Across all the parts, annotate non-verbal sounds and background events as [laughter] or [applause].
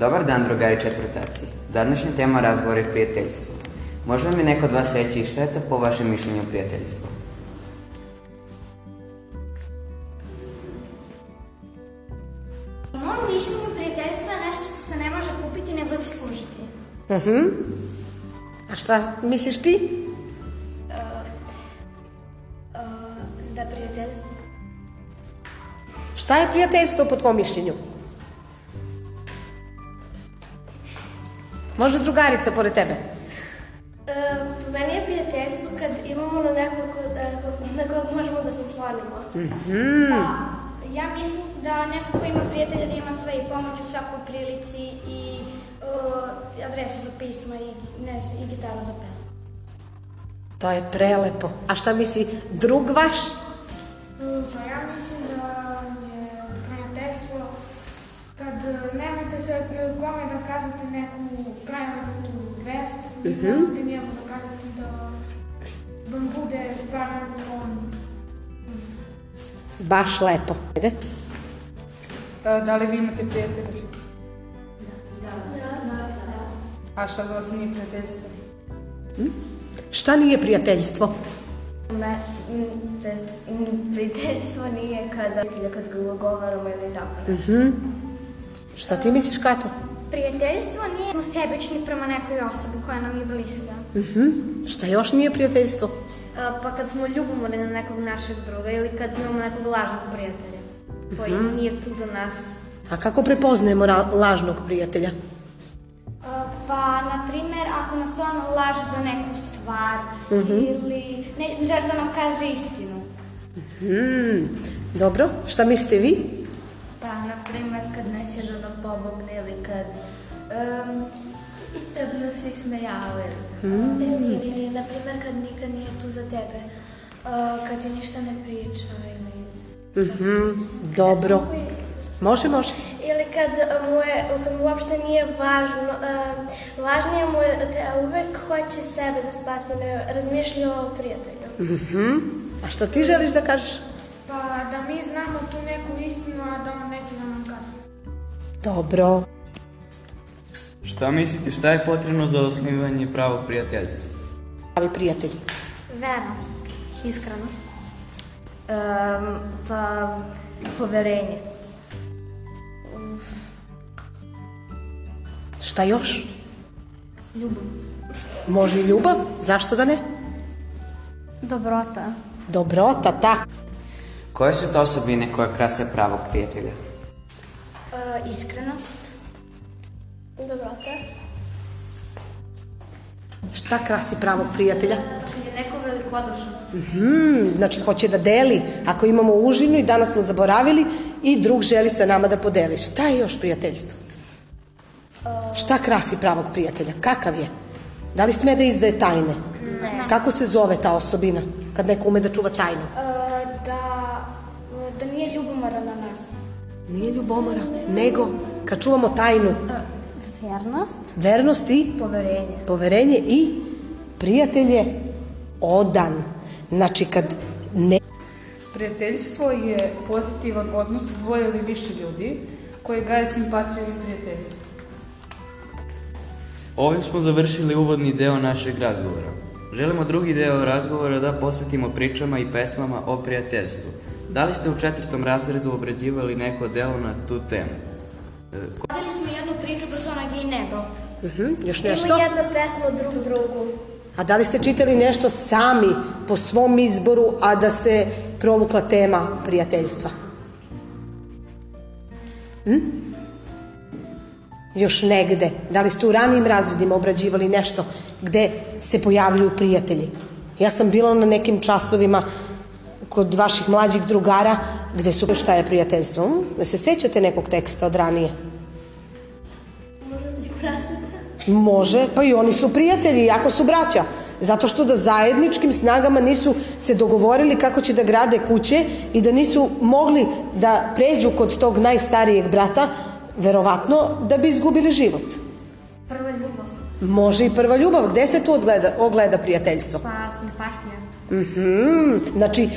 Dobar dan, drugari četvrtaci. Današnja tema razgovora je prijateljstvo. Može li mi neko od vas reći šta je to po vašem mišljenju prijateljstvo? Po mom mišljenju, prijateljstvo je nešto što se ne može kupiti nego da zaslužiti. Mhm. A šta misliš ti? Da prijateljstvo... E, Šta je prijateljstvo po tvom mišljenju? Može drugarica pored tebe? po meni je prijateljstvo kad imamo na nekog ko- e, da- na kog možemo da se slonimo. Pa, Ja mislim da neko ko ima prijatelja da ima sve i pomoć u svakoj prilici i uh, adresu za pisma i, ne, znam, i gitaru za pesmu. To je prelepo. A šta misli drug vaš? Pa ja mislim da je prijateljstvo kad nemate se kome da kažete neku pravilnu vest, nemate njemu da kažete da vam bude pravilno on. Baš lepo. Ajde. E, Da li vi imate prijatelje? Da. Da. A šta za vas nije prijateljstvo? Šta nije prijateljstvo? to jest, prijateljstvo nije kada, kad govorimo ili tako. Šta ti misliš, Kato? Prijateljstvo nije smo sebični prema nekoj osobi koja nam je bliska. Šta još nije prijateljstvo? Pa kad smo ljubomorni na nekog našeg druga ili kad imamo nekog lažnog prijatelja koji nije tu za nas. Mhm. A kako prepoznajemo ra- lažnog prijatelja? E, Pa, na primjer, ako nas on laže za neku stvar ili ne, ne želi da nam kaže istinu. Hmm. Dobro, šta mislite vi? Pa, na primjer, kad nećeš da nam pomogne ili kad um, da nas ismejavaju. E, Ili, na primjer, kad nikad nije tu za tebe, e, kad ti ništa ne priča ili... Mhm, Dobro. Može, može. Ili kad mu, je, kad mu uopšte nije važno, e, važnije mu je da uvek hoće sebe da spasi, ne razmišlja o prijatelju. Mhm. A šta ti želiš da kažeš? Pa, da mi znamo tu neku istinu, a da on neće da nam kaže. Dobro. Šta mislite, šta je potrebno za osnivanje pravog prijateljstva? Pravi prijatelj. Vera. Iskrenost. pa, poverenje. Šta još? Ljubav. Može i ljubav? Zašto da ne? Dobrota. Dobrota, tak. Koje su to osobine koje krase pravog prijatelja? iskrenost. Dobrota. Šta krasi pravog prijatelja? Je neko velikodušan. Mhm, znači hoće da deli. Ako imamo užinu i danas smo zaboravili i drug želi sa nama da podeli. Šta je još prijateljstvo? Šta krasi pravog prijatelja? Kakav je? Da li sme da izdaje tajne? Kako se zove ta osobina kad neko ume da čuva tajnu? da, da е nije ljubomoran na nas. Nije ljubomora, nego kad čuvamo tajnu Vernost. vernost i Poverenje. poverenje i prijatelj je odan. Znači kad ne... Prijateljstvo je pozitivan odnos dvoje ili više ljudi koji gaje simpatiju i prijateljstvo. Ovim smo završili uvodni deo našeg razgovora. Želimo drugi deo razgovora da posvetimo pričama i pesmama o prijateljstvu. Da li ste u četvrtom razredu obrađivali neko deo na tu temu? E, ko- Radili smo jednu priču personage i nebo. Mhm, još nešto? Ima jedna pesma drug drugu. A da li ste čitali nešto sami po svom izboru, a da se provukla tema prijateljstva? Hm? Još negde. Da li ste u ranijim razredima obrađivali nešto gde se pojavljuju prijatelji? Ja sam bila na nekim časovima kod vaših mlađih drugara gde su šta je prijateljstvo. Hm? Jel Se sećate nekog teksta od ranije? Može, pa i oni su prijatelji, jako su braća. Zato što da zajedničkim snagama nisu se dogovorili kako će da grade kuće i da nisu mogli da pređu kod tog najstarijeg brata, verovatno da bi izgubili život. Prva ljubav. Može i prva ljubav, gde se tu ogleda, ogleda prijateljstvo? Pa simpatija. Mhm, znači, e,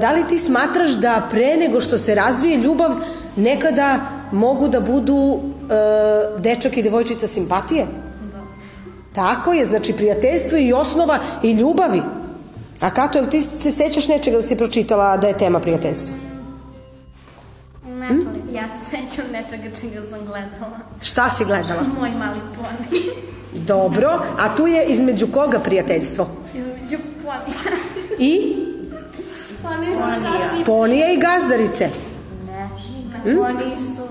da li ti smatraš da pre nego što se razvije ljubav, nekada mogu da budu e, e, dečak i devojčica simpatije? Tako je, znači prijateljstvo je i osnova i ljubavi. A Kato, jel ti se sećaš nečega da si pročitala da je tema prijateljstva? Mm? Ja se sećam nečega čega sam gledala. Šta si gledala? [laughs] Moj mali poni. Dobro, a tu je između koga prijateljstvo? Između ponija. I ponija i gazdarice. Hm? Ne. Oni su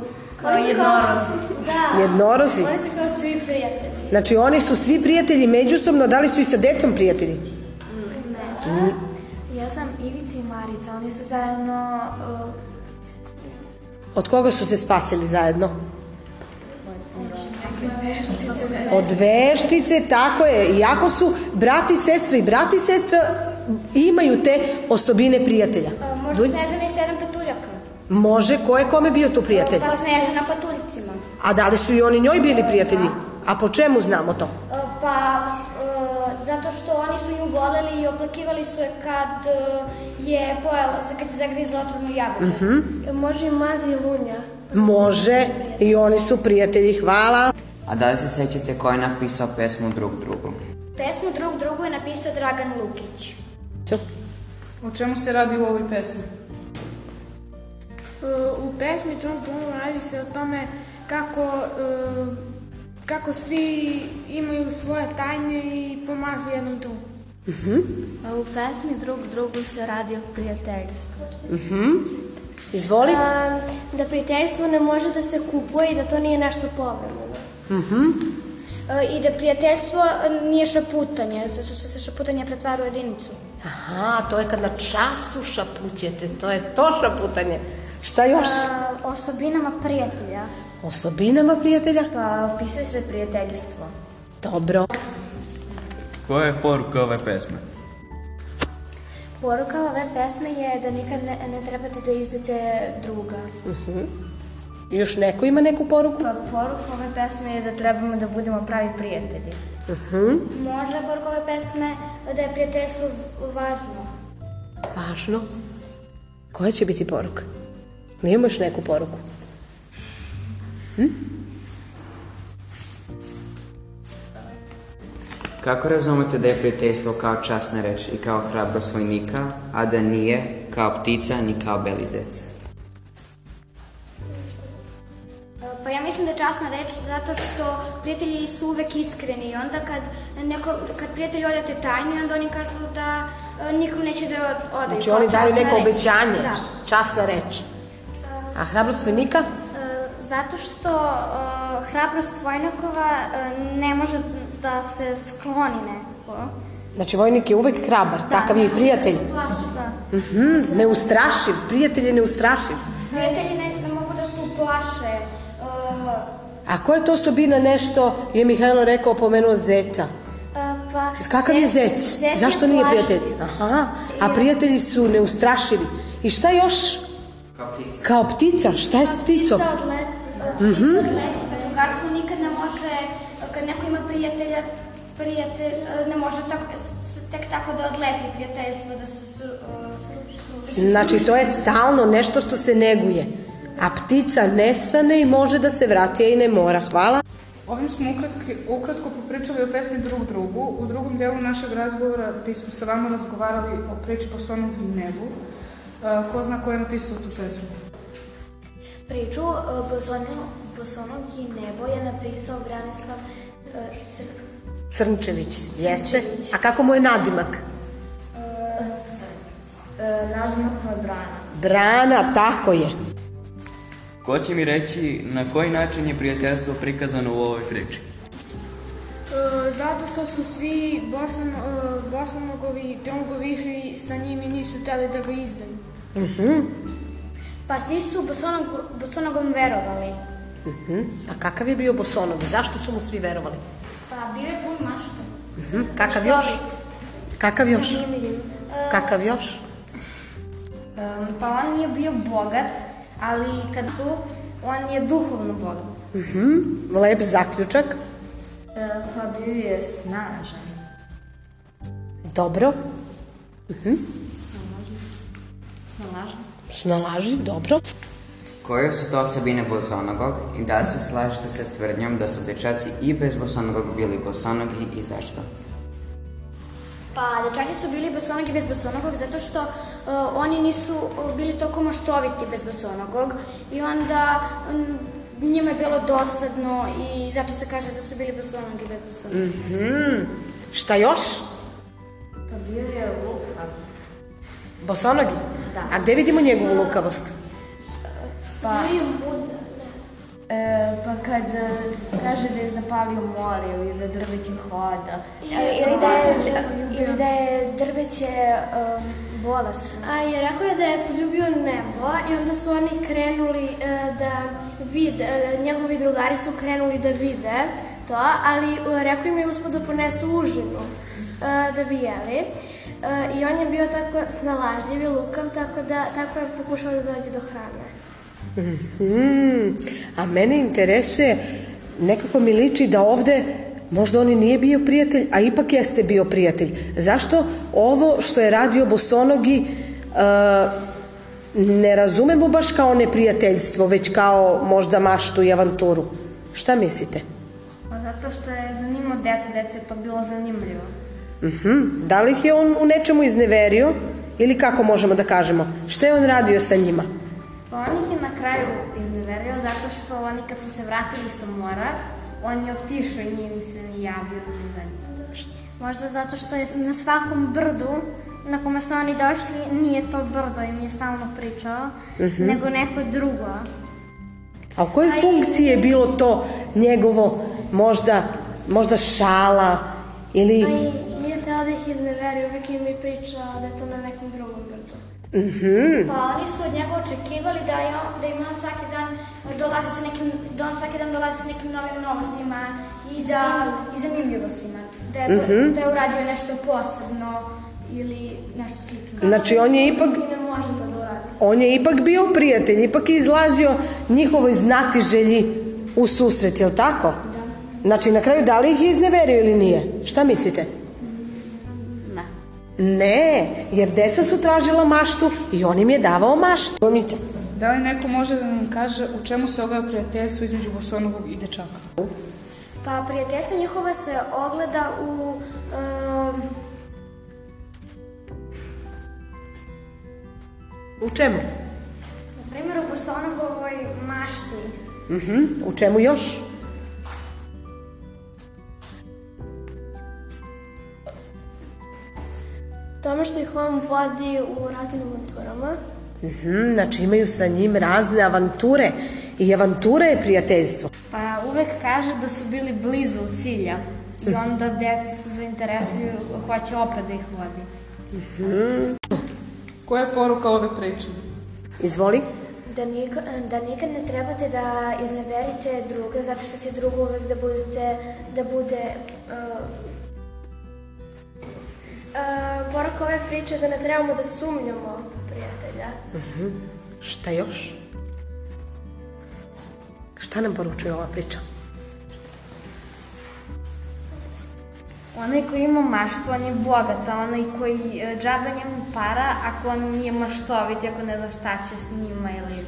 kao jednorozi. Da. Jednorozi. Oni su kao svi prijatelji. Znači oni su svi prijatelji međusobno, da li su i sa decom prijatelji? Hm? Ja sam Ivica i Marica, oni su zajedno uh, Od koga su se spasili zajedno? Od veštice, tako je. Iako su brat i sestra i brat i sestra imaju te osobine prijatelja. Uh, A, Možda Dunj- Snežana i sedam patuljaka. Može, ko je kome bio tu prijatelj? Pa Snežana patuljcima. A da li su i oni njoj bili prijatelji? A po čemu znamo to? A, Pa, e, zato što oni su nju voleli i oplakivali su je kad e, je pojela, kad je zagrizla otrovnu jagodu. E, Može i mazi i lunja. Može, i oni su prijatelji, hvala. A da li se sećate ko je napisao pesmu drug drugom? Pesmu drug drugu je napisao Dragan Lukić. O čemu se radi u ovoj pesmi? E, U pesmi Trum Trum radi se o tome kako, e, kako svi imaju svoje tajne i pomažu jednom drugom. u pesmi drug drugu se radi o prijateljstvu. Izvoli. A, da prijateljstvo ne može da se kupuje i da to nije nešto povremeno. E, I da prijateljstvo nije šaputanje, zato što se šaputanje pretvara u jedinicu. Aha, to je kad na času šapućete, to je to šaputanje. Šta još? A, E, osobinama prijatelja. Osobinama prijatelja? Pa opisuje se prijateljstvo. Dobro. Koja je poruka ove pesme? Poruka ove pesme je da nikad ne, ne trebate da izdate druga. Još neko ima neku poruku? Pa poruka ove pesme je da trebamo da budemo pravi prijatelji. Mhm. Možda je poruka ove pesme da je prijateljstvo važno. Važno. Koja će biti poruka? Nijemo još neku poruku? Kako razumete da je prijateljstvo kao časna reč i kao hrabrost vojnika, a da nije kao ptica ni kao belizec? Pa ja mislim da je časna reč zato što prijatelji su uvek iskreni i onda kad, neko, kad prijatelji odate tajni, onda oni kažu da e, nikom neće da je od- odaju. Znači kao oni daju časna neko reč. obećanje, Da. časna reč. E, A hrabrost vojnika? E, Zato što e, hrabrost vojnakova e, ne može da se skloni neko. Znači vojnik je uvek hrabar, takav je i prijatelj. Plaši, da. Mhm, neustrašiv, prijatelj je neustrašiv. Prijatelji ne, ne mogu da se uplaše. e, A koja je to osobina nešto, je Mihajlo rekao, pomenuo zeca? E, Pa, Kakav je zec- zec? zec je Zašto nije plašljiv. prijatelj? Aha, a prijatelji su neustrašivi. I šta još? Kao ptica. Kao ptica, šta je s pticom? Ptica od let, ptica od letve. Drugarstvo nikad ne može, kad neko ima prijatelja, prijatelj, e, ne može tako, s- tek tako da odleti prijateljstvo, da se sru- e, sruši. Znači, to je stalno nešto što se neguje. A ptica nestane i može da se vrati, a i ne mora. Hvala. Ovim smo ukratko, ukratko popričali o pesmi drug drugu. U drugom delu našeg razgovora bismo sa vama razgovarali o priči po sonu i nebu. E, Ko zna ko je napisao tu pesmu? Priču e, Bosonog, Bosonog i nebo je napisao Branislav e, Cr- Crnčević, jeste. A kako mu je nadimak? e, nazimak mu je Brana. Brana, tako je. Ko će mi reći na koji način je prijateljstvo prikazano u ovoj priči? E, Zato što su svi Bosan, e, Bosanogovi i Trungovi išli sa njim i nisu hteli da ga izdaju. Pa svi su Bosonog- Bosonogom verovali. Mhm. A kakav je bio Bosonov? Zašto su mu svi verovali? Pa bio je pun mašta. Mhm. Kakav još? Kakav još? Kakav još? Um, pa on nije bio bogat, ali kad tu, on je duhovno bogat. Mhm. Lep zaključak. E, pa bio je snažan. Dobro. Hm? Snažan? Snalaživ, dobro. Koje su to osobine Bosanogog i da li se slažete sa tvrdnjom da su dečaci i bez Bosanogog bili Bosanogi i zašto? Pa, dečaci su bili bosonogi bez bosonogog zato što e, oni nisu e, bili toliko maštoviti bez bosonogog i onda m, njima je bilo dosadno i zato se kaže da su bili bosonogi bez bosonogog. Hmm, šta još? Pa bio je Da. lukav. Bosonogi? A gde vidimo njegovu lukavost? Pa, e, pa kad e, kaže da je zapalio more ili da drveće hoda. Ili da je, Ili da je drveće um, bolesno. a i rekao je da je poljubio nebo i onda su oni krenuli e, da vide, e, njegovi drugari su krenuli da vide to, ali e, rekao im je uspod da ponesu užinu e, da bi jeli. E, I on je bio tako snalažljiv i lukav, tako da tako je pokušao da dođe do hrane. Hmm, a mene interesuje, nekako mi liči da ovde možda on i nije bio prijatelj, a ipak jeste bio prijatelj. Zašto ovo što je radio Bosonogi e, ne razumemo baš kao neprijateljstvo, već kao možda maštu i avanturu? Šta mislite? Pa zato što je zanimao decu, decu je to bilo zanimljivo. Mhm, Da li ih je on u nečemu izneverio ili kako možemo da kažemo? Šta je on radio sa njima? Pa on ih je na kraju izneverio zato što oni kad su se vratili sa mora, on je otišao i nije mi se ni javio ni za njih. Možda zato što je na svakom brdu na kome su oni došli, nije to brdo im je stalno pričao, nego neko drugo. A u kojoj funkciji je bilo to njegovo možda, možda šala ili... Pa i nije teo da ih izneveri, uvijek im je pričao da je to na nekom drugom brdu. Pa oni su od njega očekivali da je on, da ima on svaki dan e, dolazi sa nekim, da on svaki dan dolazi sa nekim novim novostima i da i zanimljivostima. Da je, da je uradio nešto posebno ili nešto slično. Znači on je ipak I ne može to da uradi. on je ipak bio prijatelj, ipak je izlazio njihovoj znatiželji u susret, je li tako? Da. Znači, na kraju, da li ih je izneverio ili nije? Šta mislite? Ne. Ne, jer deca su tražila maštu i on im je davao maštu. Pomice. Da li neko može da nam kaže u čemu se ogleda prijateljstvo između Bosonovog i dečaka? Pa prijateljstvo njihova se ogleda u... em, U čemu? na primjer u Bosonogovoj mašti. Mhm, U čemu još? Tome što ih on vodi u raznim avanturama. Mhm, znači, imaju sa njim razne avanture i avantura je prijateljstvo. Pa uvek kaže da su bili blizu cilja i onda decu se zainteresuju, hoće opet da ih vodi. Koja je poruka ove priče? Izvoli. Da, nik, e, da nikad ne trebate da izneverite druge, zato što će drugo uvek da budete, da bude e, uh, e, Uh, poruka ove priče je da ne trebamo da sumnjamo u prijatelja. E, Šta još? Šta nam poručuje ova priča? Onaj koji ima maštu, on je bogat, a onaj koji e, džabe njemu para, ako on nije maštovit, ako ne zna šta će s njima ili...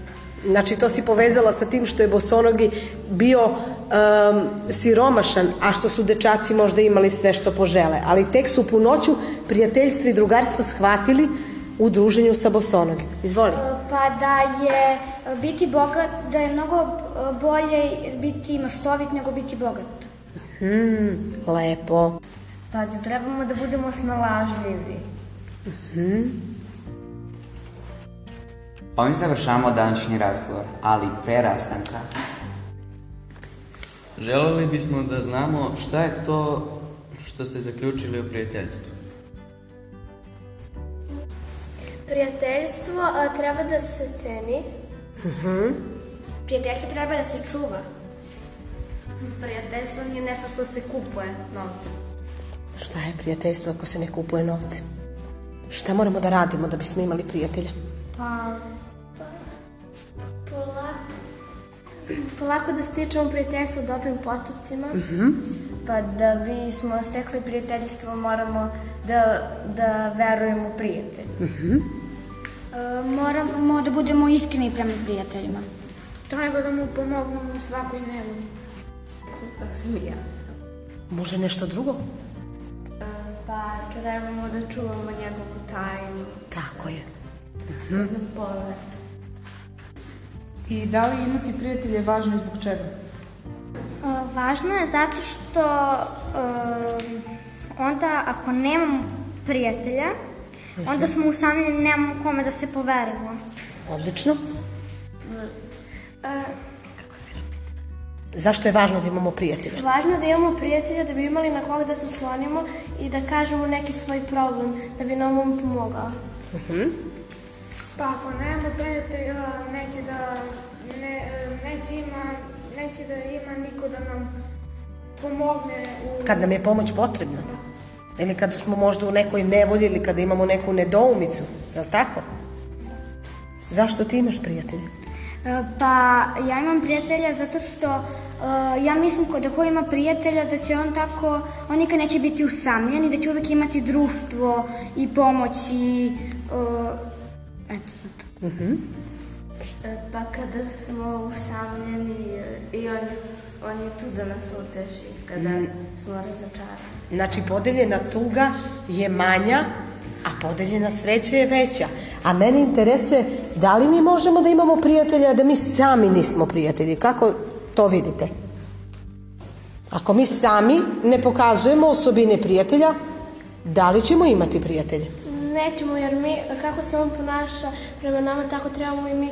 Znači, to si povezala sa tim što je Bosonogi bio em, siromašan, a što su dečaci možda imali sve što požele. Ali tek su punoću prijateljstvo i drugarstvo shvatili u druženju sa Bosonogim. Izvoli. Pa da je e, biti bogat, da je mnogo e, bolje biti maštovit nego biti bogat. Mm, lepo. Pa da trebamo da budemo snalažljivi. Ovim završavamo današnji razgovor, ali pre rastanka. Želeli bismo da znamo šta je to što ste zaključili o prijateljstvu. Prijateljstvo uh, treba da se ceni. Prijateljstvo treba da se čuva. Prijateljstvo nije nešto što se kupuje novcem. Šta je prijateljstvo ako se ne kupuje novcem? Šta moramo da radimo da bismo imali prijatelja? Polako, polako da stičemo prijateljstvo dobrim postupcima. Pa da bismo stekli prijateljstvo moramo da, da verujemo u prijatelj. moramo da budemo iskreni prema prijateljima. Treba da mu pomognemo u svakoj nevolji. To sam i ja. Može nešto drugo? Pa trebamo da čuvamo njegovu tajnu, Tako je. nam pove. I da li imati prijatelje je važno i zbog čega? Važno je zato što um, onda ako nemamo prijatelja, onda smo usamljeni, nemamo kome da se poverimo. Odlično. Zašto je važno da imamo prijatelja? Važno je da imamo prijatelja da bi imali na koga da se oslonimo i da kažemo neki svoj problem da bi nam on pomogao. Pa ako nema prijatelja, neće da, ne, e, neće, ima, neće da ima niko da nam pomogne u... Kad nam je pomoć potrebna? Ili kada smo možda u nekoj nevolji ili kada imamo neku nedoumicu, je li tako? Zašto ti imaš prijatelja? E, Pa ja imam prijatelja zato što e, ja mislim ko- da ko ima prijatelja da će on tako, on nikad neće biti usamljen i da će uvek imati društvo i pomoć i e, eto zato. Pa kada smo usamljeni e, i on je, on je tu da nas uteši kada smo razočarani. Znači, podeljena tuga je manja, a podeljena sreća je veća. A mene interesuje da li mi možemo da imamo prijatelja, a da mi sami nismo prijatelji. Kako to vidite? Ako mi sami ne pokazujemo osobine prijatelja, da li ćemo imati prijatelje? Nećemo jer mi, kako se on ponaša prema nama, tako trebamo i mi e,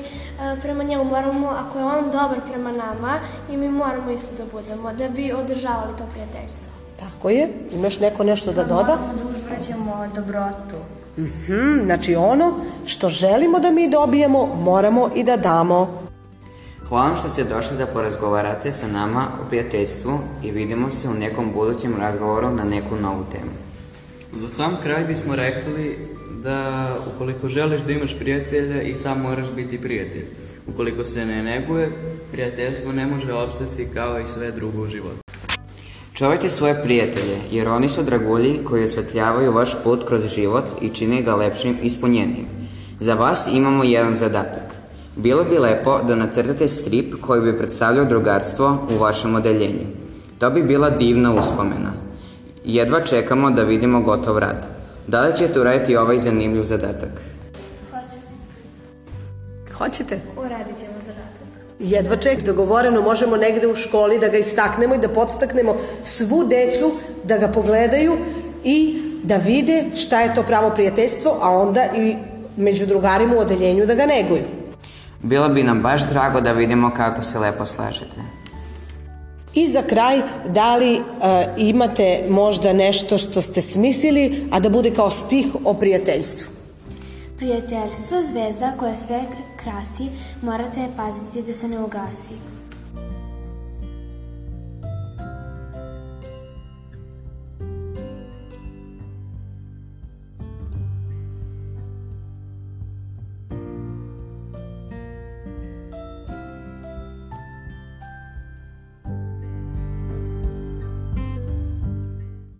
prema njemu. Moramo, ako je on dobar prema nama, i mi moramo isto da budemo, da bi održavali to prijateljstvo. Tako je. Imaš neko nešto da doda? Da uzvraćamo dobrotu. Mhm, znači ono što želimo da mi dobijemo, moramo i da damo. Hvala vam što ste došli da porazgovarate sa nama o prijateljstvu i vidimo se u nekom budućem razgovoru na neku novu temu. Za sam kraj bismo rekli da ukoliko želiš da imaš prijatelja i sam moraš biti prijatelj. Ukoliko se ne neguje, prijateljstvo ne može opstati kao i sve drugo u životu. Čuvajte svoje prijatelje, jer oni su dragulji koji osvetljavaju vaš put kroz život i čine ga lepšim i ispunjenijim. Za vas imamo jedan zadatak. Bilo bi lepo da nacrtate strip koji bi predstavljao drugarstvo u vašem odeljenju. To bi bila divna uspomena. Jedva čekamo da vidimo gotov rad. Da li ćete uraditi ovaj zanimljiv zadatak? Hoćete? Uradit ćemo zadatak. Jedva ček, dogovoreno možemo negde u školi da ga istaknemo i da podstaknemo svu decu da ga pogledaju i da vide šta je to pravo prijateljstvo, a onda i među drugarima u odeljenju da ga neguju. Bilo bi nam baš drago da vidimo kako se lepo slažete. I za kraj, da li e, imate možda nešto što ste smislili, a da bude kao stih o prijateljstvu? Prijateljstvo, zvezda koja sve krasi, morate je paziti da se ne ugasi.